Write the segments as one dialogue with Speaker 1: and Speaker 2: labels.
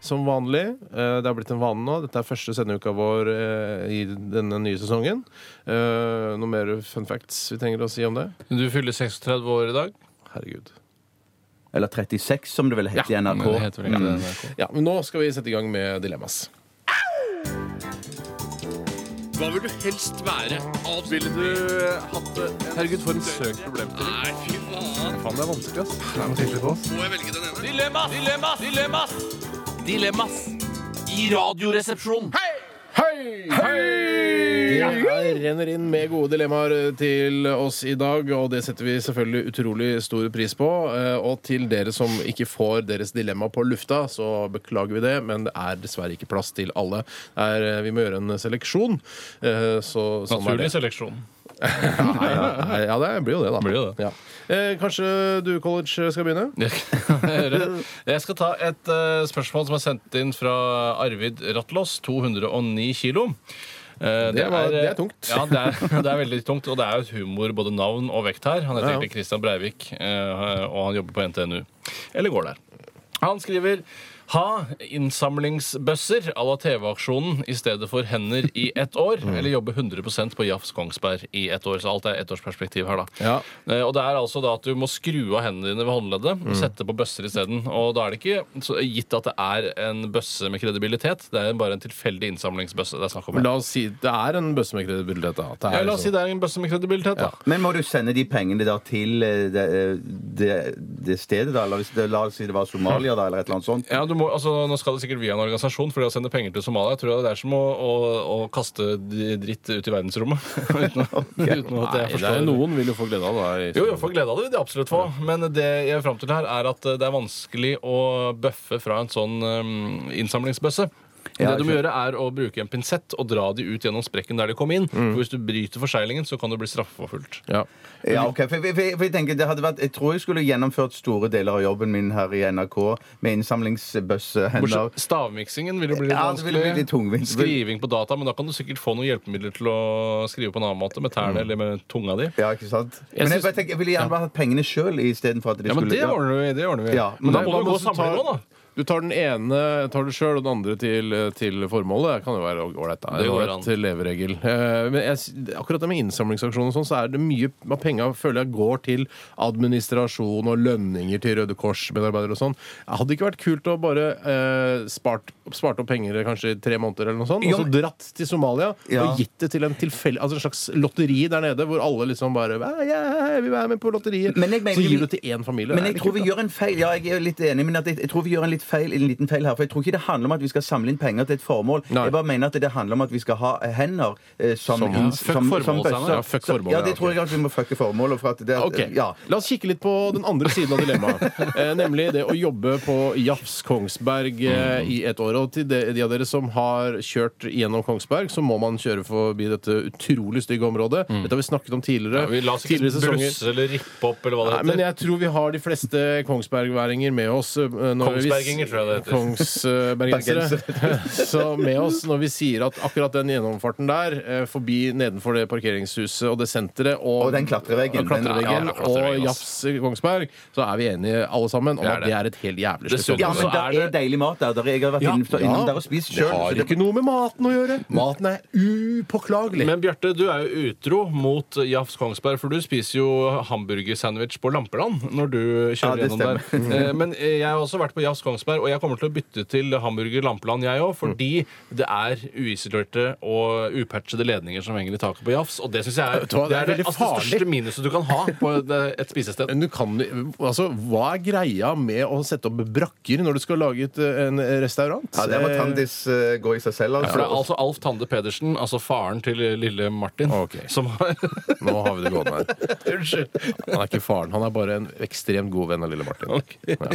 Speaker 1: som vanlig. Eh, Det har blitt en vane nå. Dette er første sendeuka vår eh, i denne nye sesongen. Eh, Noe mer fun facts vi trenger å si om det?
Speaker 2: Du fyller 36 år i dag.
Speaker 1: Herregud.
Speaker 3: Eller 36, som det vel het i NRK.
Speaker 2: Men det heter vel ikke det, NRK.
Speaker 1: Ja, men Nå skal vi sette i gang med Dilemmas.
Speaker 4: Hva vil du helst være? Avspille
Speaker 5: Herregud, for en søk problem.
Speaker 4: Nei, fy faen.
Speaker 5: Faen, det er vanskelig, ass.
Speaker 4: Må jeg velge den ene? Mm. Dilemmas! Dilemmas! Dilemmas! Dilemmas i Radioresepsjonen.
Speaker 1: Det renner inn med gode dilemmaer eh, til oss i dag, og det setter vi selvfølgelig utrolig stor pris på. Eh, Og til dere som ikke får deres dilemma på lufta, så beklager vi det, men det er dessverre ikke plass til alle. Det er, eh, vi må gjøre en seleksjon. eh, Så sånn er
Speaker 2: Naturlig
Speaker 1: det.
Speaker 2: seleksjon.
Speaker 1: Ja, ja, det blir jo det, da.
Speaker 2: Blir jo det.
Speaker 1: Ja. Eh, Kanskje du, college, eh, skal begynne?
Speaker 2: Jeg skal ta et eh, spørsmål som er sendt inn fra Arvid Rattlås, 209 kilo. Eh,
Speaker 1: Det var- det er tungt.
Speaker 2: Ja, det er, det er veldig tungt, og det er jo et humor, både navn og vekt her. Han heter
Speaker 1: Ja, ja.
Speaker 2: egentlig Christian Breivik, eh, og han jobber på NTNU. Eller går der. Han skriver ha innsamlingsbøsser à la TV-aksjonen i stedet for hender i ett år.
Speaker 1: Mm.
Speaker 2: Eller jobbe 100 på Jafs Kongsberg i ett år. Så alt er ettårsperspektiv her, da.
Speaker 1: Ja.
Speaker 2: Eh, Og det er altså da at du må skru av hendene dine ved håndleddet
Speaker 1: Mm.
Speaker 2: og sette på bøsser isteden. Og da er det ikke så gitt at det er en bøsse med kredibilitet. Det er bare en tilfeldig innsamlingsbøsse. Det er snakk om
Speaker 1: Men La oss si det er en bøsse med kredibilitet. da. At det er
Speaker 2: ja, la oss si
Speaker 1: liksom-
Speaker 2: det er en bøsse med kredibilitet, da.
Speaker 3: Men må du sende de pengene da til eh, det, eh, det, det stedet, da? Eller hvis det, la oss si det var Somalia, da, eller et eller annet sånt?
Speaker 2: Ja, du må, altså, Nå skal det sikkert via en organisasjon, for det å sende penger til Somalia jeg tror jeg det er som å, å, å kaste d- dritt ut i verdensrommet. uten, å- uten at
Speaker 1: Nei, det
Speaker 2: jeg
Speaker 1: er,
Speaker 2: forstår
Speaker 1: noen vil jo få glede av det.
Speaker 2: Jo, jeg får glede av det. det er absolutt få. Men det jeg er frem til her er at eh, det er vanskelig å bøffe fra en sånn um, innsamlingsbøsse.
Speaker 3: Ja,
Speaker 2: det du må
Speaker 3: jeg
Speaker 2: gjøre er å bruke en pinsett og dra de ut gjennom sprekken der de kom inn.
Speaker 3: Mm.
Speaker 2: For Hvis du bryter forseglingen, så kan du bli straffeforfulgt.
Speaker 1: Ja.
Speaker 3: Ja, ok, for, for, for jeg tenker det hadde vært Jeg tror jeg skulle gjennomført store deler av jobben min her i NRK med innsamlingsbøssehender.
Speaker 2: Bortsett- Stavmiksingen vil jo bli litt
Speaker 3: Ja, det vil
Speaker 2: vanskelig.
Speaker 3: bli litt tungvint.
Speaker 2: Skriving på data, men da kan du sikkert få noen hjelpemidler til å skrive på en annen måte, med
Speaker 3: Mm.
Speaker 2: tærne eller med tunga di.
Speaker 3: Ja, ikke sant? Men jeg,
Speaker 2: synes-
Speaker 3: bare tenker, jeg ville gjerne bare hatt pengene sjøl istedenfor at de
Speaker 2: Ja, men
Speaker 3: skulle
Speaker 2: det ordner vi. Det ordner vi.
Speaker 3: Ja,
Speaker 2: men,
Speaker 3: men
Speaker 2: da
Speaker 1: Nei,
Speaker 2: må du
Speaker 1: men
Speaker 2: gå
Speaker 1: så
Speaker 2: samling nå, da.
Speaker 1: Du tar den ene tar du sjøl, og den andre til, eh, til formålet. Det kan jo være ålreit. da.
Speaker 2: Det går
Speaker 1: Ålreit
Speaker 2: an.
Speaker 1: leveregel. Eh, Men jeg, s- akkurat det med innsamlingsaksjoner og sånn, så er det mye av penga føler jeg går til administrasjon og lønninger til Røde Kors-medarbeidere og sånn. Hadde det ikke vært kult å bare eh, spart, spart opp penger eh, kanskje i tre måneder eller noe sånt, og
Speaker 3: Jo,
Speaker 1: så
Speaker 3: men-
Speaker 1: dratt til Somalia
Speaker 3: Ja.
Speaker 1: og gitt det til en tilfeldig altså en slags lotteri der nede, hvor alle liksom bare «Hei, hei, hei, Vi vil være med på lotteriet.
Speaker 3: Men jeg mener-
Speaker 1: Så gir du til én familie. Det
Speaker 3: Men
Speaker 1: er
Speaker 3: jeg
Speaker 1: litt
Speaker 3: tror
Speaker 1: kult,
Speaker 3: vi
Speaker 1: da.
Speaker 3: gjør en feil. Ja, jeg er litt enig, men at jeg, jeg tror vi gjør en, litt feil, en liten feil her. For jeg tror ikke det handler om at vi skal samle inn penger til et formål.
Speaker 1: Nei.
Speaker 3: Jeg bare mener at det handler om at vi skal ha hender eh, som,
Speaker 1: Som-
Speaker 3: ins-
Speaker 2: fuck
Speaker 3: som,
Speaker 2: formålet,
Speaker 3: som
Speaker 2: Steinar.
Speaker 3: bøsser.
Speaker 1: Ja, fuck formålet,
Speaker 3: ja,
Speaker 1: ja,
Speaker 3: det tror jeg at vi må fucke formålet. For at det, at-
Speaker 1: Ok,
Speaker 3: ja.
Speaker 1: La oss kikke litt på den andre siden av dilemmaet. eh, nemlig det å jobbe på Jafs Kongsberg eh,
Speaker 3: Mm.
Speaker 1: i et år. Og til de, de av dere som har kjørt gjennom Kongsberg, så må man kjøre forbi dette utrolig stygge området.
Speaker 3: Mm.
Speaker 1: Dette har vi snakket om tidligere.
Speaker 2: Ja, vi la oss ikke
Speaker 1: tidligere sesonger.
Speaker 2: blusse eller rippe opp eller hva det
Speaker 1: Nei,
Speaker 2: heter.
Speaker 1: men jeg tror vi har de fleste kongsbergværinger med oss. eh, Når
Speaker 2: Kongsberginger, tror jeg det heter.
Speaker 1: Kongsbergensere. Så med oss når vi sier at akkurat den gjennomfarten der, eh, forbi nedenfor det parkeringshuset og det senteret og,
Speaker 3: Og den klatreveggen.
Speaker 1: og, klatreveggen,
Speaker 2: Den- ja, klatreveggen,
Speaker 1: og Jafs eh, Kongsberg, så er vi enige alle sammen om
Speaker 2: Det er
Speaker 1: at det er et helt jævlig
Speaker 2: Dessuten
Speaker 1: slutt.
Speaker 3: ja, men
Speaker 2: Så
Speaker 3: det
Speaker 2: er
Speaker 3: er,
Speaker 2: det-
Speaker 3: deilig mat der. der jeg har vært
Speaker 1: Ja,
Speaker 3: innom,
Speaker 1: ja.
Speaker 3: innom der og spist
Speaker 1: Det
Speaker 3: sjøl.
Speaker 1: har ikke noe med maten å gjøre. Maten er upåklagelig.
Speaker 2: Men Bjarte, du er jo utro mot Jafs Kongsberg, for du spiser jo hamburgersandwich på Lampeland når du
Speaker 3: Ja,
Speaker 2: kjører
Speaker 3: det
Speaker 2: gjennom der. Eh, Men eh, jeg har også vært på Jafs Kongsberg, og jeg kommer til å bytte til hamburger Lampeland, jeg òg, fordi det er uisolerte og upatchede ledninger som henger i taket på Jafs, og det syns jeg er
Speaker 1: Vet du hva,
Speaker 2: det,
Speaker 1: det er
Speaker 2: er det,
Speaker 1: veldig
Speaker 2: altså, det
Speaker 1: farlig.
Speaker 2: største minuset du kan ha på et, et spisested.
Speaker 1: Men du kan, altså, hva er greia med å sette opp brakker når du skal lage et, en restaurant?
Speaker 3: Ja, der må Tandis eh, gå i seg selv,
Speaker 2: For
Speaker 3: altså.
Speaker 2: det er altså Alf Tande Pedersen, altså faren til lille Martin,
Speaker 1: Ok.
Speaker 2: som har
Speaker 1: Nå har vi det gående her. Han er ikke faren, han er bare en ekstremt god venn av lille Martin. Ja.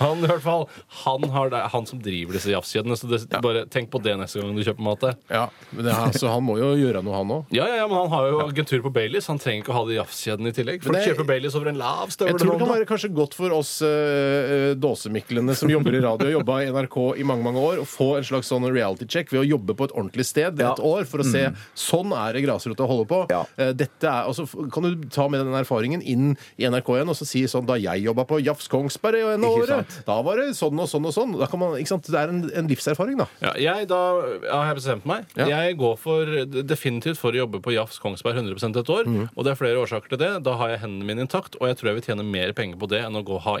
Speaker 2: Han i hvert fall, han, har det, han som driver disse jafskjedene. Så det, bare tenk på det neste gang du kjøper mat der.
Speaker 1: Ja, men det er, altså, han må jo gjøre noe, han òg.
Speaker 2: Ja, ja, ja, men Han har jo agentur på Baileys. Han trenger ikke å ha de jafskjedene i tillegg. Folk
Speaker 1: Men det-
Speaker 2: kjøper Baileys over en lav
Speaker 1: Jeg
Speaker 2: støvel.
Speaker 1: tror det kan være kanskje godt for oss eh, eh, dåsemiklene som jobber i radio og jobba i NRK i mange mange år, å få en slags sånn reality check ved å jobbe på et ordentlig sted
Speaker 3: Ja. Mm.
Speaker 1: et år. for å se sånn er det grasrota holder på.
Speaker 3: Ja.
Speaker 1: Eh, Dette er, altså, f- kan du ta med den erfaringen inn i NRK igjen og så si sånn da jeg jobba på Jafs Kongsberg i en
Speaker 3: Ikke
Speaker 1: året, da var det sånn og sånn og sånn. Da kan man, ikke sant? Det er en, en livserfaring, da.
Speaker 2: Ja, jeg da ja, har jeg bestemt meg.
Speaker 1: Ja.
Speaker 2: Jeg går for, definitivt for å jobbe på Jafs Kongsberg 100 et år.
Speaker 1: Mm.
Speaker 2: Og det er flere årsaker til det. Da har jeg hendene mine intakt, og jeg tror jeg vil tjene mer penger på det enn å gå og ha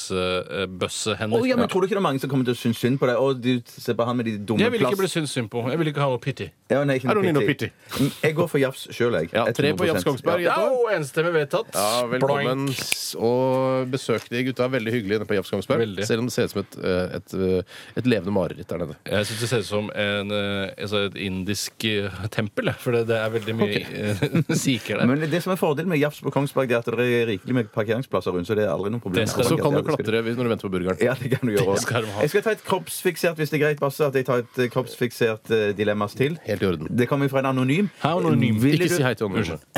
Speaker 2: eh, innsamlingsbøssehender.
Speaker 3: Å, ja, men Tror du ikke det er mange som kommer til å synes synd på deg? Å, du ser på han med de dumme
Speaker 2: Jeg vil ikke bli syntes synd på. Jeg vil ikke ha noe pity.
Speaker 3: Ja, nei, ikke
Speaker 1: I
Speaker 3: noe
Speaker 1: don't need no
Speaker 3: pity. Mm, Jeg går for jafs sjøl, jeg.
Speaker 1: Ja, tre på Jafs
Speaker 3: 100%.
Speaker 1: Kongsberg.
Speaker 2: Ja,
Speaker 1: Ja.
Speaker 2: og enstemmig vedtatt.
Speaker 1: Ja, velkommen
Speaker 2: Blank.
Speaker 1: og besøk de gutta. Veldig hyggelig inne på Jafs Kongsberg.
Speaker 2: Veldig.
Speaker 1: Selv om det ser ut som et, eh, et, eh, et levende mareritt der nede.
Speaker 2: Jeg syns det ser ut som en, eh, altså et indisk eh, tempel, jeg, for det, det er veldig mye eh, sikher der.
Speaker 3: Men det som er fordelen med jafs på Kongsberg, det er at det er rikelig med parkeringsplasser rundt. Så det er aldri noe problem.
Speaker 2: Det skal-
Speaker 1: Og så
Speaker 3: Ja,
Speaker 1: kan du
Speaker 3: det skal
Speaker 1: klatre hvis- når du venter på burgeren.
Speaker 3: Ja, det kan du gjøre
Speaker 2: Det skal de
Speaker 3: også.
Speaker 2: ha.
Speaker 3: Jeg skal ta et kroppsfiksert, hvis det er greit, Basse, at jeg tar et eh, kroppsfiksert eh, dilemmas til.
Speaker 1: Helt i orden.
Speaker 3: Det kommer fra en anonym.
Speaker 2: Hei, anonym.
Speaker 3: Ville
Speaker 1: Ikke
Speaker 3: du-
Speaker 1: si hei til andre.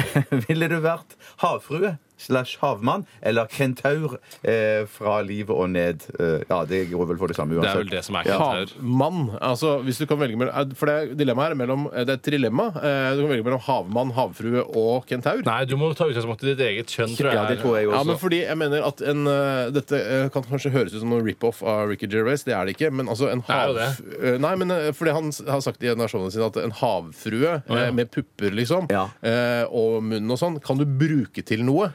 Speaker 3: Ville du vært havfrue slash havmann eller kentaur eh, fra livet og ned? Eh, ja, det går vel for det samme
Speaker 2: Det er
Speaker 3: uansett.
Speaker 2: vel det som er kentaur.
Speaker 1: Havmann. Altså, hvis du kan velge mellom eh, For det er dilemma her mellom eh, Det er et trilemma. Eh, Du kan velge mellom havmann, havfrue og kentaur.
Speaker 2: Nei, du må ta utgangspunkt i ditt eget kjønn, tror jeg.
Speaker 3: Ja, det tror jeg
Speaker 1: Ja,
Speaker 3: også.
Speaker 1: men fordi jeg mener at en, eh, Dette eh, kan kanskje høres ut som noe rip-off av Ricky Gervais. Det er det ikke. Men altså en
Speaker 2: er
Speaker 1: hav...
Speaker 2: jo
Speaker 1: Eh, Nei, men eh, fordi han s- har sagt i nasjonene sine at en havfrue eh, med pupper liksom
Speaker 3: Ja.
Speaker 1: eh, og munnen og sånn, kan du bruke til noe.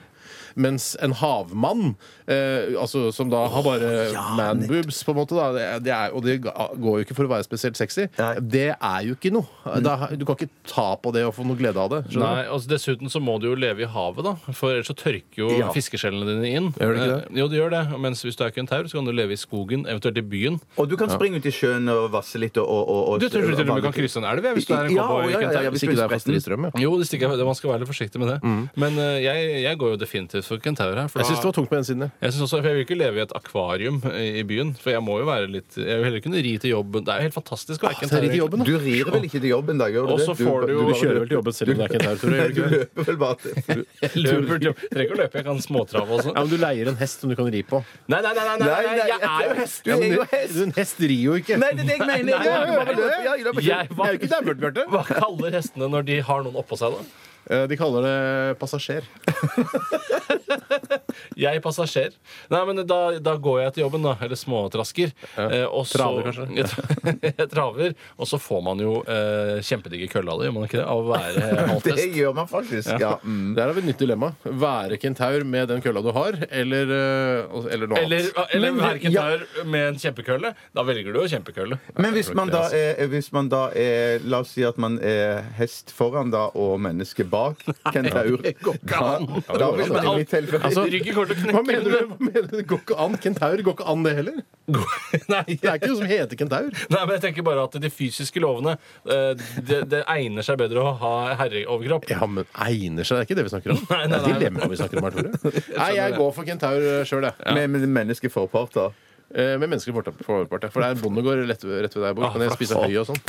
Speaker 1: Mens en havmann, eh, altså, som da har bare man boobs, på en måte, da, det, er- det er, og det ga- går jo ikke for å være spesielt sexy,
Speaker 3: Nei. Mm.
Speaker 1: det er jo ikke noe. Da, du kan ikke ta på det og få noe glede av det. skjønner du?
Speaker 2: Nei, altså Dessuten så må du jo leve i havet, da. For ellers så tørker jo
Speaker 3: Ja.
Speaker 2: fiskeskjellene dine inn.
Speaker 1: Gjør det ikke det?
Speaker 2: Eh, Jo, det gjør det. Mens hvis du er kentaur, så kan du leve i skogen, eventuelt i byen.
Speaker 3: Og du kan springe ut i sjøen og vasse litt og, og, og
Speaker 2: Du tror du til og med kan krysse en elv, ja, hvis du er en
Speaker 3: Ja,
Speaker 2: cowboy.
Speaker 3: ja, ja,
Speaker 2: kentaur.
Speaker 3: ja,
Speaker 1: Hvis
Speaker 3: du
Speaker 1: ikke det
Speaker 3: er
Speaker 1: er fast
Speaker 3: spretten.
Speaker 1: strøm, ja.
Speaker 2: Jo, det stikker jeg- det- man skal være litt forsiktig med det. Men eh, jeg, jeg går jo definitivt for kentaur her. For
Speaker 1: Jeg syns det
Speaker 2: da,
Speaker 1: var tungt på den siden. ja.
Speaker 2: jeg synes også, for jeg vil ikke leve i et akvarium eh, i byen. For jeg må jo være litt Jeg vil heller kunne ri til jobben. Det er jo helt fantastisk å være
Speaker 1: Det er
Speaker 2: kentaur.
Speaker 1: ikke jobben, da.
Speaker 3: Du rir vel ikke til jobben, da? Gjør du
Speaker 2: Og så
Speaker 3: det?
Speaker 2: får du jo-
Speaker 1: Du
Speaker 2: Du
Speaker 1: kjører vel til jobben selv om det er kentaur, tror jeg.
Speaker 3: Du løper vel bare til
Speaker 2: Jeg løper til jobb. Trenger ikke å løpe, jeg kan småtrave også.
Speaker 1: Ja, men du leier en hest som du kan ri på.
Speaker 2: Nei, nei, nei, nei, nei,
Speaker 3: Nei, nei,
Speaker 2: jeg er jo hest!
Speaker 3: Du er jo
Speaker 1: Du,
Speaker 3: hest!
Speaker 1: en hest rir jo ikke.
Speaker 3: Nei, det er det jeg mener!
Speaker 2: Nei, nei,
Speaker 3: Jeg bare
Speaker 2: nei,
Speaker 3: løper, ja, jeg løper ikke.
Speaker 2: Jeg var
Speaker 1: ikke der, Bjørn Bjarte.
Speaker 2: Hva kaller hestene når de har noen oppå seg, da?
Speaker 1: Eh, De kaller det passasjer.
Speaker 2: Jeg passasjer. Nei, men da, da går jeg til jobben, da. Eller småtrasker. Eh, og så,
Speaker 1: Traver, kanskje?
Speaker 2: Jeg traver. Og så får man jo eh, kjempedigge køllader, gjør man ikke det? Av å være
Speaker 3: Det
Speaker 2: halvtest.
Speaker 3: gjør man faktisk. Ja. Mm.
Speaker 1: Der har vi et nytt dilemma. Være kentaur med den kølla du har, eller, eh, eller noe
Speaker 2: Eller,
Speaker 1: annet.
Speaker 2: eller
Speaker 3: Men-
Speaker 2: verken
Speaker 3: ja.
Speaker 2: tar med en kjempekølle. Da velger du jo kjempekølle.
Speaker 3: Men hvis man da er, altså. hvis man da er La oss si at man er hest foran da og menneske bak kentaur. Da, da vil det bli tilfelle.
Speaker 1: Altså,
Speaker 2: Ryggen kommer til å
Speaker 1: Hva
Speaker 2: knekke.
Speaker 1: mener du? Hva mener du? Det går ikke an. Kentaur går ikke an, det heller.
Speaker 2: Nei,
Speaker 1: Det er ikke noe som heter kentaur.
Speaker 2: Nei, men jeg tenker bare at De fysiske lovene eh, det, det egner seg bedre å ha herreoverkropp.
Speaker 1: Ja, men egner seg. Det er ikke det vi snakker om.
Speaker 2: Nei, nei,
Speaker 1: Det
Speaker 2: nei.
Speaker 1: er dilemmaet vi snakker om her, Tore. Nei, jeg går for kentaur sjøl, eh, jeg.
Speaker 3: Med, med menneske forpart, da.
Speaker 1: Eh, Med mennesker fortapet på overpartet. For det er en bondegård rett, rett ved der jeg bor.
Speaker 2: Ah,
Speaker 1: Kan jeg
Speaker 2: flaks.
Speaker 1: spise høy og sånn?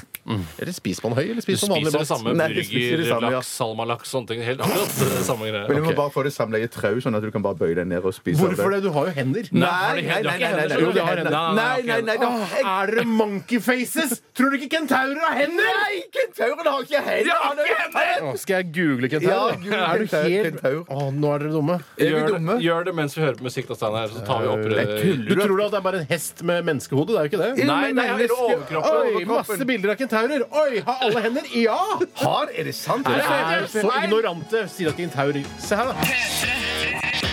Speaker 1: Eller spiser man høy, eller
Speaker 2: Du
Speaker 1: spiser man
Speaker 2: spiser
Speaker 1: vanlig
Speaker 2: det
Speaker 1: mat?
Speaker 2: samme.
Speaker 3: Nei, du spiser
Speaker 2: Burger,
Speaker 3: det samme, ja.
Speaker 2: laks, salmalaks, sånne ting. Helt akkurat det samme greia.
Speaker 3: Men du må
Speaker 1: Ok.
Speaker 3: bare få det samla i et trau, sånn at du kan bare bøye deg ned og spise av
Speaker 1: Hvorfor det? Du har jo hender.
Speaker 2: Nei, har de
Speaker 3: nei,
Speaker 2: hender? Du
Speaker 3: nei,
Speaker 2: har ikke
Speaker 3: nei, nei,
Speaker 2: hender,
Speaker 1: jo, de har
Speaker 2: skjønner du?
Speaker 1: hender.
Speaker 2: Nei, nei,
Speaker 3: Nei,
Speaker 2: jeg har ikke
Speaker 3: nei,
Speaker 2: hender.
Speaker 3: nei,
Speaker 1: Åh, er dere monkey faces? Tror dere ikke kentaurer har hender?
Speaker 3: Nei, kentauren har ikke hender! Han har ikke hender!
Speaker 1: Åh, skal jeg google
Speaker 3: Ja,
Speaker 1: kentaur? da?
Speaker 3: google
Speaker 1: er
Speaker 3: kentaur,
Speaker 1: du helt
Speaker 3: kentaur.
Speaker 1: Åh, Nå er dere dumme.
Speaker 3: Er vi
Speaker 2: Gjør det,
Speaker 3: dumme?
Speaker 2: gjør det mens vi hører på musikk, da, Steinar. Så tar vi opp
Speaker 1: Jeg
Speaker 2: eh,
Speaker 1: Du tror da at det er bare en hest med menneskehode? Det er jo ikke det.
Speaker 2: Nei, nei, jeg vil overkroppen.
Speaker 1: Oi, masse bilder av kentaurer. Oi, har alle hender? Ja!
Speaker 3: Har, er det sant?
Speaker 1: Dere er så ignorante. Sier at kentaurer Se her, da.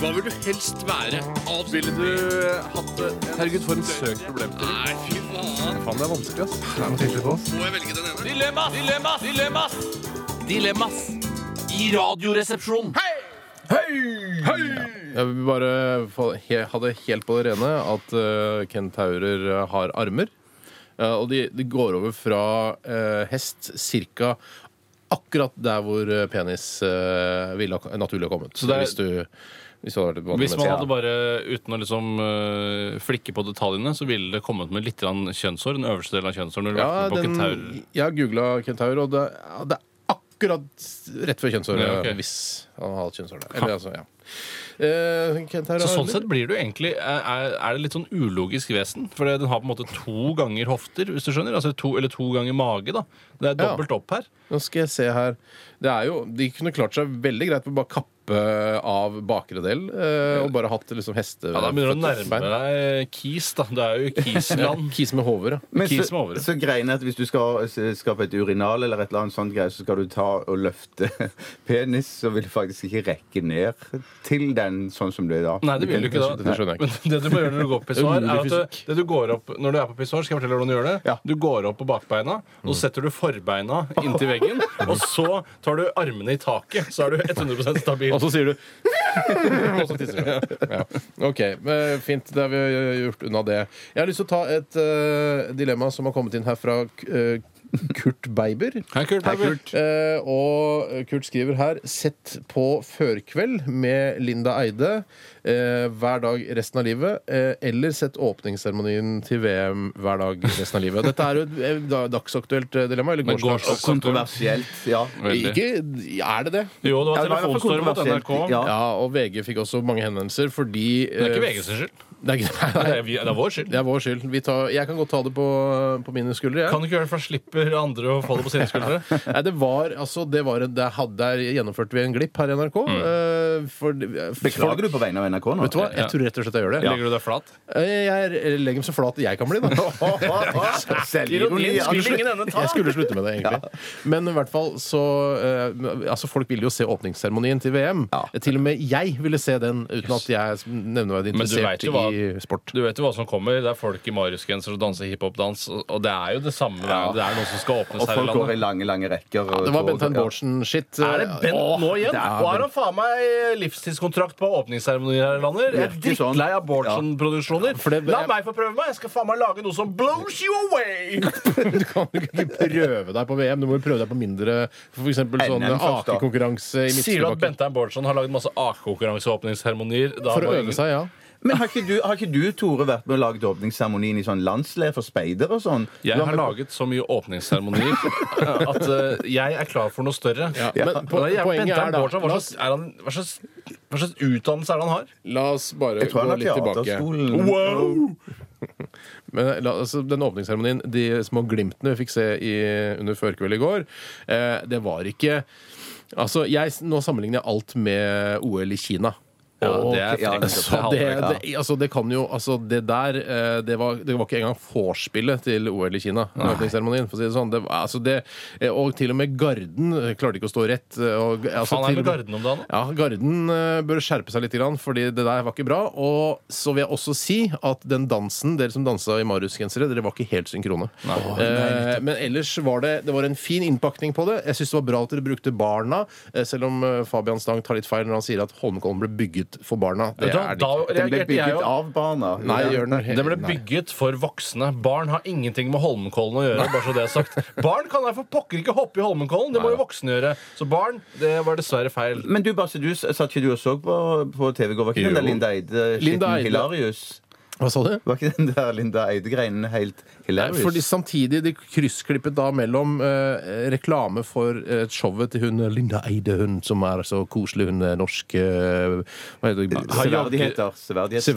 Speaker 4: Hva vil du helst være? Avspille
Speaker 5: Ville du hatt det? Herregud, for en søkt problemstilling.
Speaker 4: Nei, fy faen.
Speaker 5: Faen, det er vanskelig, ass.
Speaker 4: Må jeg velge den ene? Dilemmas! Dilemmas! Dilemmas! Dilemmas i Radioresepsjonen.
Speaker 1: Jeg vil bare få he- ha det helt på det rene at eh, kentaurer eh, har armer. Eh, og de, de går over fra eh, hest cirka akkurat der hvor eh, penis eh, ville ha, naturlig ha kommet. Så
Speaker 2: det er-
Speaker 1: hvis du, hvis du hadde vært et vanlig
Speaker 2: Hvis man
Speaker 1: menneske.
Speaker 2: hadde bare uten å liksom eh, flikke på detaljene, så ville det kommet med litt grann kjønnshår. Den øverste delen av kjønnshåret. når du
Speaker 1: ja,
Speaker 2: lagt den på
Speaker 1: den,
Speaker 2: kentaur.
Speaker 1: Jeg har googla kentaur, og det, ja, det er akkurat rett før kjønnshåret.
Speaker 2: Ja, ok.
Speaker 1: Hvis Han har halvt kjønnshår. der. Eller altså, ja. Eh, Kent her,
Speaker 2: Så
Speaker 1: har-
Speaker 2: sånn sett blir det jo egentlig Er, er det litt sånn ulogisk vesen? For den har på en måte to ganger hofter, hvis du skjønner. Altså to, eller to ganger mage, da. Det er
Speaker 1: Ja.
Speaker 2: dobbelt opp her.
Speaker 1: Nå skal jeg se her. Det er jo, de kunne klart seg veldig greit med å bare kappe av bakre del eh, og bare hatt liksom heste...
Speaker 2: Ja, Da begynner du å nærme deg Kis, da. Det er jo Kisland.
Speaker 1: Kis med hover, ja.
Speaker 3: Men
Speaker 2: Kis med
Speaker 3: så,
Speaker 2: over.
Speaker 3: så greien er at hvis du skal s- skape et urinal eller et eller annet sånt greie, så skal du ta og løfte penis, så vil du faktisk ikke rekke ned til den sånn som det er da.
Speaker 2: Nei, det vil du ikke da.
Speaker 1: Dette skjønner jeg
Speaker 2: Men
Speaker 1: ikke.
Speaker 2: det du må gjøre når du går på pissoar, er
Speaker 1: Umulig
Speaker 2: at du, det du går opp, når du er på pissoar, skal jeg fortelle hvordan du gjør det.
Speaker 3: Ja.
Speaker 2: Du går opp på bakbeina,
Speaker 1: Mm.
Speaker 2: og så setter du forbeina inntil veggen, og så tar du armene i taket. Så er du 100 stabil.
Speaker 1: Og så sier du Og så tisser du. Ja. OK. men Fint. Da har vi gjort unna det. Jeg har lyst til å ta et eh, dilemma som har kommet inn her fra eh, Kurt Beiber.
Speaker 2: Hei, Kurt.
Speaker 1: Eh, og Kurt skriver her Sett på Førkveld med Linda Eide eh, hver dag resten av livet. eh, eller sett åpningsseremonien til VM hver dag resten av livet. Dette er jo et eh, da- dagsaktuelt eh, dilemma. Eller
Speaker 2: Men
Speaker 1: gårsdags.
Speaker 2: gårsdags-
Speaker 3: Kontroversielt, ja.
Speaker 2: Veldig.
Speaker 1: Ikke, er det det?
Speaker 2: Jo, det var
Speaker 3: Ja, det var i hvert fall
Speaker 2: telefonstorm mot
Speaker 3: kontroversielt,
Speaker 2: NRK.
Speaker 1: Ja.
Speaker 3: Ja.
Speaker 1: og VG fikk også mange henvendelser fordi
Speaker 2: Det er ikke VG sin skyld.
Speaker 1: Det er, ikke, nei,
Speaker 2: Det
Speaker 1: nei,
Speaker 2: er, vi- det er vår skyld.
Speaker 1: det er vår skyld. Vi tar, jeg kan godt ta det på, på mine skuldre. Jeg.
Speaker 2: Kan du ikke gjøre det, for da slipper andre å få det på sine skuldre.
Speaker 1: Nei, det var, altså, det var en, der, hadde, der gjennomførte vi en glipp her i NRK.
Speaker 2: Mm.
Speaker 1: eh, for, folk-
Speaker 3: Beklager du på vegne av NRK nå?
Speaker 1: Vet du hva? Jeg tror rett og slett jeg gjør det.
Speaker 2: Legger du deg flat?
Speaker 1: Jeg jeg legger meg så flat jeg kan bli, da.
Speaker 3: Selvironi.
Speaker 2: Ironien skulle ingen ende ta.
Speaker 1: Jeg skulle slutte med det, egentlig. Men i hvert fall så eh, Altså, folk ville jo se åpningsseremonien til VM. Til og med jeg ville se den uten at jeg er nevneverdig
Speaker 2: Men du vet
Speaker 1: interessert
Speaker 2: jo hva-
Speaker 1: i sport.
Speaker 2: Du vet jo hva som kommer. Det er folk i Marius-genser og danser hiphop-dans. og- Og det er jo det samme. Det er, det er noen som skal åpnes
Speaker 3: Og
Speaker 2: her i
Speaker 3: folk går i
Speaker 2: landet.
Speaker 3: lange, lange rekker. og-
Speaker 1: Det var Bentein
Speaker 3: Ja.
Speaker 1: Bårdsen-shit.
Speaker 2: Er det
Speaker 1: eh,
Speaker 2: Bent nå igjen? Og har han faen meg livstidskontrakt på åpningsseremonier her i landet? Jeg er
Speaker 3: Virker sånn.
Speaker 2: drittlei av Bårdsen-produksjoner.
Speaker 1: for det-
Speaker 2: La meg få prøve meg! Jeg skal faen meg lage noe som blows you away!
Speaker 1: Du kan jo ikke prøve deg på VM. Du må jo prøve deg på mindre f.eks. sånn
Speaker 3: NM først, da.
Speaker 1: akekonkurranse i
Speaker 2: Sier du at
Speaker 1: Midtstøbakken.
Speaker 2: Bentheim Bårdsen har lagd masse AK-konkurranse og åpningsseremonier? Da
Speaker 1: For
Speaker 2: må
Speaker 1: å
Speaker 2: ingen-
Speaker 1: øve seg, ja.
Speaker 3: Men har ikke, du, har ikke du, Tore, vært med og laget åpningsseremonien i sånn landsleir for speidere og sånn?
Speaker 2: Jeg har laget så mye åpningsseremonier at eh, jeg er klar for noe større.
Speaker 1: Ja.
Speaker 2: Men po-
Speaker 1: Men
Speaker 2: poenget
Speaker 1: Bentheim
Speaker 2: er da
Speaker 1: Bårdsen, hva
Speaker 2: hva slags, utdannelse er det han har?
Speaker 1: La oss bare
Speaker 3: Jeg tror han
Speaker 1: gå
Speaker 3: har
Speaker 1: litt tilbake.
Speaker 3: teaterskolen.
Speaker 1: Men la, altså, den åpningsseremonien, de små glimtene vi fikk se i, under førkveld i går, eh, det var ikke Altså, jeg, nå sammenligner jeg alt med OL i Kina.
Speaker 2: Ja, det er
Speaker 3: Ok, ja,
Speaker 2: frekt.
Speaker 1: Så det, det, altså det kan jo Altså, det der eh, Det var, det var ikke engang vorspielet til OL i Kina. den Åpningsseremonien, for å si det sånn. Det, var- altså det, eh, og til og med Garden eh, klarte ikke å stå rett. eh, Og, altså,
Speaker 2: Han
Speaker 1: til og
Speaker 2: er med
Speaker 1: med-
Speaker 2: Garden om dagen.
Speaker 1: ja, Garden eh, bør skjerpe seg litt, grann, fordi det der var ikke bra. Og så vil jeg også si at den dansen, dere som dansa i Marius-gensere, dere var ikke helt synkrone. Eh, men ellers var det Det var en fin innpakning på det. Jeg syns det var bra at dere brukte barna, eh, selv om eh, Fabian Stang tar litt feil når han sier at Holmenkollen ble bygget for barna. Det
Speaker 2: Da,
Speaker 1: er det
Speaker 2: da
Speaker 1: ikke.
Speaker 3: Den ble
Speaker 2: reagerte jeg
Speaker 3: bygget
Speaker 2: jo.
Speaker 3: av barna.
Speaker 1: Eh, Nei, gjør den
Speaker 2: Den ble bygget for voksne. Barn har ingenting med Holmenkollen å gjøre. bare så det er sagt. Barn kan da for pokker ikke hoppe i Holmenkollen! Det må jo voksne gjøre. Så barn, det var dessverre feil.
Speaker 3: Men du, Basse, du s- satt ikke du og så på, på TV i går? Var ikke den der Linda Eide
Speaker 1: Linda
Speaker 3: skitten
Speaker 1: Eide.
Speaker 3: Hilarius?
Speaker 1: Hva sa du?
Speaker 3: Var ikke den der Linda Eide-greinen helt hilarious?
Speaker 1: Fordi samtidig de kryssklippet da mellom eh, reklame for eh, showet til hun Linda Eide, hun som er så koselig, hun er norsk eh, Hva heter det?
Speaker 3: Severdigheter. Severdighetstegn.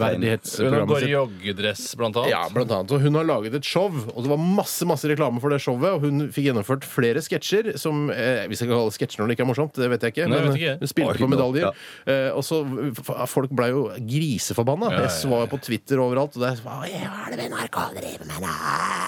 Speaker 2: Hun
Speaker 1: Severdighetsprogrammet
Speaker 2: går i
Speaker 1: sitt.
Speaker 2: joggedress, blant annet.
Speaker 1: Ja, blant annet. Og hun har laget et show, og det var masse masse reklame for det showet. Og hun fikk gjennomført flere sketsjer som eh, Vi skal ikke kalle det sketsjer når det ikke er morsomt, det vet jeg ikke.
Speaker 2: Nei, jeg
Speaker 1: men
Speaker 2: vet ikke.
Speaker 1: hun spilte
Speaker 3: Oi,
Speaker 1: på
Speaker 3: nå,
Speaker 1: medaljer.
Speaker 3: ja.
Speaker 1: Eh, og så f- Folk blei jo griseforbanna. Jeg så jo på Twitter overalt, og der Hva er det med NRK driver med? da?»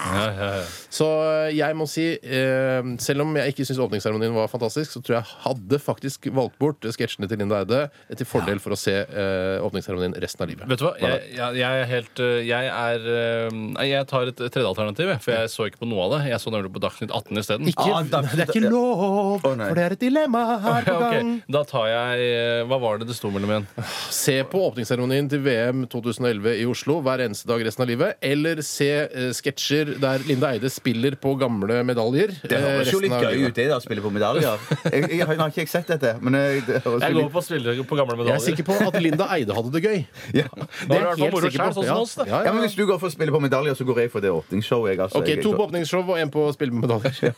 Speaker 2: Ja, ja, ja.
Speaker 1: Så jeg må si, eh, selv om jeg ikke syns åpningsseremonien var fantastisk, så tror jeg hadde faktisk valgt bort sketsjene til Linda Eide til fordel for å se eh, åpningsseremonien resten av livet.
Speaker 2: Vet du hva? Jeg, jeg, jeg er helt øh, Jeg er øh, Nei, jeg tar et tredje alternativ, jeg, for jeg så ikke på noe av det. Jeg så nemlig på Dagsnytt 18 isteden.
Speaker 1: Ikke,
Speaker 3: Ah, da-
Speaker 1: det er ikke lov,
Speaker 3: Å, nei.
Speaker 1: for det er et dilemma her på
Speaker 2: Ja, Ah, ok.
Speaker 1: gang.
Speaker 2: Da tar jeg øh, Hva var det det sto mellom igjen?
Speaker 1: Se på åpningsseremonien til VM 2011 i Oslo hver eneste dag resten av livet. Eller se eh, sketsjer der Linda Eide spiller på gamle medaljer.
Speaker 3: Det
Speaker 1: eh,
Speaker 3: høres jo
Speaker 1: resten
Speaker 3: litt
Speaker 1: av
Speaker 3: gøy
Speaker 1: livet.
Speaker 3: ut, det der, å spille på medaljer. Jeg, jeg, har- nå har ikke jeg sett dette, men jeg, det høres
Speaker 2: Jeg
Speaker 3: jo
Speaker 2: går på å spille på gamle
Speaker 1: Jeg er
Speaker 2: medaljer.
Speaker 1: sikker på at Linda Eide hadde det gøy.
Speaker 3: litt ja.
Speaker 2: Det er helt sikker på. Sånn som oss, det.
Speaker 1: Ja,
Speaker 3: ja, men Hvis du går for å spille på medaljer, så går jeg for det åpningsshowet. Jeg, altså.
Speaker 1: Ok,
Speaker 3: Jeg-
Speaker 1: To på åpningsshow og én på å spille med medaljer.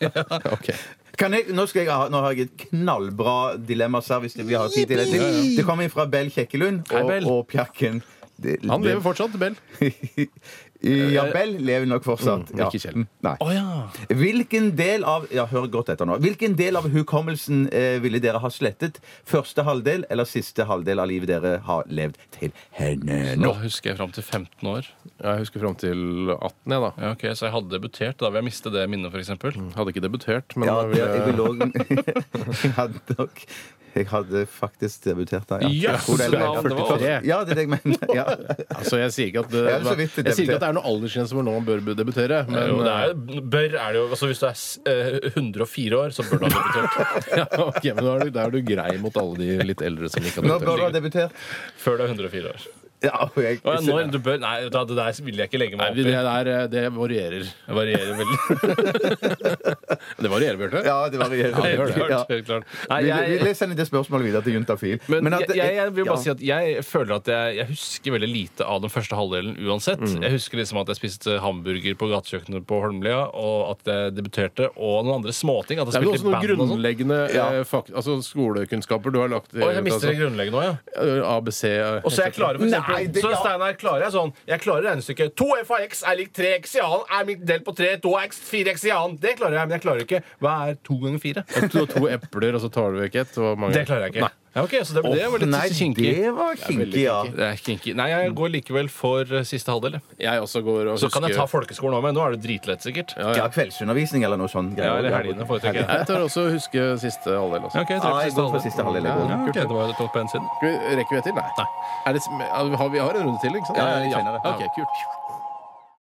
Speaker 1: Ok.
Speaker 3: Kan jeg, nå, skal jeg ha, nå har jeg et knallbra dilemmaservice. til- Vi har tid til det. til. Det kommer inn fra Bell Kjekkelund
Speaker 2: Hei,
Speaker 3: og,
Speaker 2: Bell.
Speaker 3: og Pjakken. Det-
Speaker 1: Han lever fortsatt, Bell.
Speaker 3: ja, Bell lever nok fortsatt.
Speaker 1: Eh, Mm,
Speaker 3: ja.
Speaker 1: ikke Kjell.
Speaker 3: Nei.
Speaker 2: Å ja.
Speaker 3: Hvilken del av ja, hør godt etter nå Hvilken del av hukommelsen eh, ville dere ha slettet? Første halvdel eller siste halvdel av livet dere har levd til henne
Speaker 2: Nå
Speaker 3: nå?
Speaker 2: husker jeg fram til 15 år.
Speaker 1: Jeg husker fram til 18, jeg, da.
Speaker 2: Ja, ok, Så jeg hadde debutert. Da vil jeg miste det minnet, f.eks.
Speaker 1: Hadde ikke debutert, men eh,
Speaker 3: Ja,
Speaker 1: jeg
Speaker 3: det, jeg
Speaker 1: ville-
Speaker 3: vil òg Jeg hadde nok jeg hadde faktisk debutert da.
Speaker 2: Jøss,
Speaker 3: Hvor det er
Speaker 2: navn, det var-
Speaker 3: 43. Ja, det er det jeg mener. Ja.
Speaker 1: Altså, jeg sier ikke at det,
Speaker 3: Jeg er så
Speaker 1: jeg
Speaker 3: vidt
Speaker 1: sier ikke
Speaker 3: debutert.
Speaker 1: at det er noen aldersgrense for når man bør debutere, men
Speaker 2: Jo, det er, jo- bør er det jo altså Hvis du er s- eh, 104 år, så bør du ha debutert.
Speaker 1: ja, eh, ok, men da er, du, da er du grei mot alle de litt eldre som ikke
Speaker 3: Nå
Speaker 1: har
Speaker 3: bør du ha
Speaker 1: debutert.
Speaker 3: debutert.
Speaker 2: Før du er 104 år.
Speaker 3: Ja, og jeg,
Speaker 2: Å, ja, når du bør, nei, da, det der vil jeg ikke legge meg
Speaker 1: Nei, det,
Speaker 2: opp i.
Speaker 1: der, det varierer.
Speaker 2: Det varierer veldig.
Speaker 1: Det varierer, Bjarte.
Speaker 3: ja, det varierer.
Speaker 1: det gjør
Speaker 2: Helt
Speaker 1: det.
Speaker 2: klart, helt klart. Nei,
Speaker 3: Vi, vi,
Speaker 2: jeg,
Speaker 3: vi sender det spørsmålet videre til Juntafil.
Speaker 2: men
Speaker 3: at-
Speaker 2: jeg, jeg, jeg vil bare
Speaker 3: ja.
Speaker 2: si at jeg føler at jeg, jeg husker veldig lite av den første halvdelen uansett. Jeg husker liksom at jeg spiste hamburger på gatekjøkkenet på Holmlia, og at jeg debuterte, og noen andre småting. At
Speaker 1: Det er
Speaker 2: jeg
Speaker 1: vel også noen
Speaker 2: spilte i band og sånn.
Speaker 1: grunnleggende
Speaker 3: Ja.
Speaker 1: eh, fak altså skolekunnskaper du har lagt
Speaker 2: Å, jeg mister det grunnleggende òg, ja.
Speaker 1: altså, ABC
Speaker 2: Og så jeg klarer for eksempel,
Speaker 3: Nei, det-
Speaker 2: så Steinar klarer jeg sånn Jeg klarer regnestykket 2f av x er lik 3x i annen Er mitt del på 3, 2x, 4x i annen Det klarer jeg, men jeg klarer ikke Hva er 2 ganger 4?
Speaker 1: Du har to epler, og så tar du vekk ett. og mange-
Speaker 2: Det klarer jeg ikke
Speaker 1: Nei.
Speaker 2: ja, ok, så det, det var litt
Speaker 3: Nei,
Speaker 2: kinkig
Speaker 3: det var kinkig, ja.
Speaker 2: Det er kinky. Nei, jeg går likevel for eh, siste halvdel jeg.
Speaker 1: Jeg også går og
Speaker 2: Så kan jeg ta
Speaker 1: husker
Speaker 2: folkeskolen også, men nå er det dritlett sikkert Ja,
Speaker 3: Ja, kveldsundervisning eller noe sånt. greier.
Speaker 2: eller helgene foretrekker jeg
Speaker 1: Jeg tar også å huske siste halvdel. altså. Også.
Speaker 2: Ok, jeg
Speaker 3: Ja,
Speaker 2: tar siste
Speaker 3: jeg går for
Speaker 2: halvdel
Speaker 3: siste halvdel. jeg går.
Speaker 2: Ja, ok, det var topp på en siden
Speaker 1: Skal vi- Rekker vi et til? Nei.
Speaker 2: Nei.
Speaker 1: Er det, sm- har vi har en runde til, ikke sant?
Speaker 3: Ja, ja, litt senere.
Speaker 1: Ok, kult.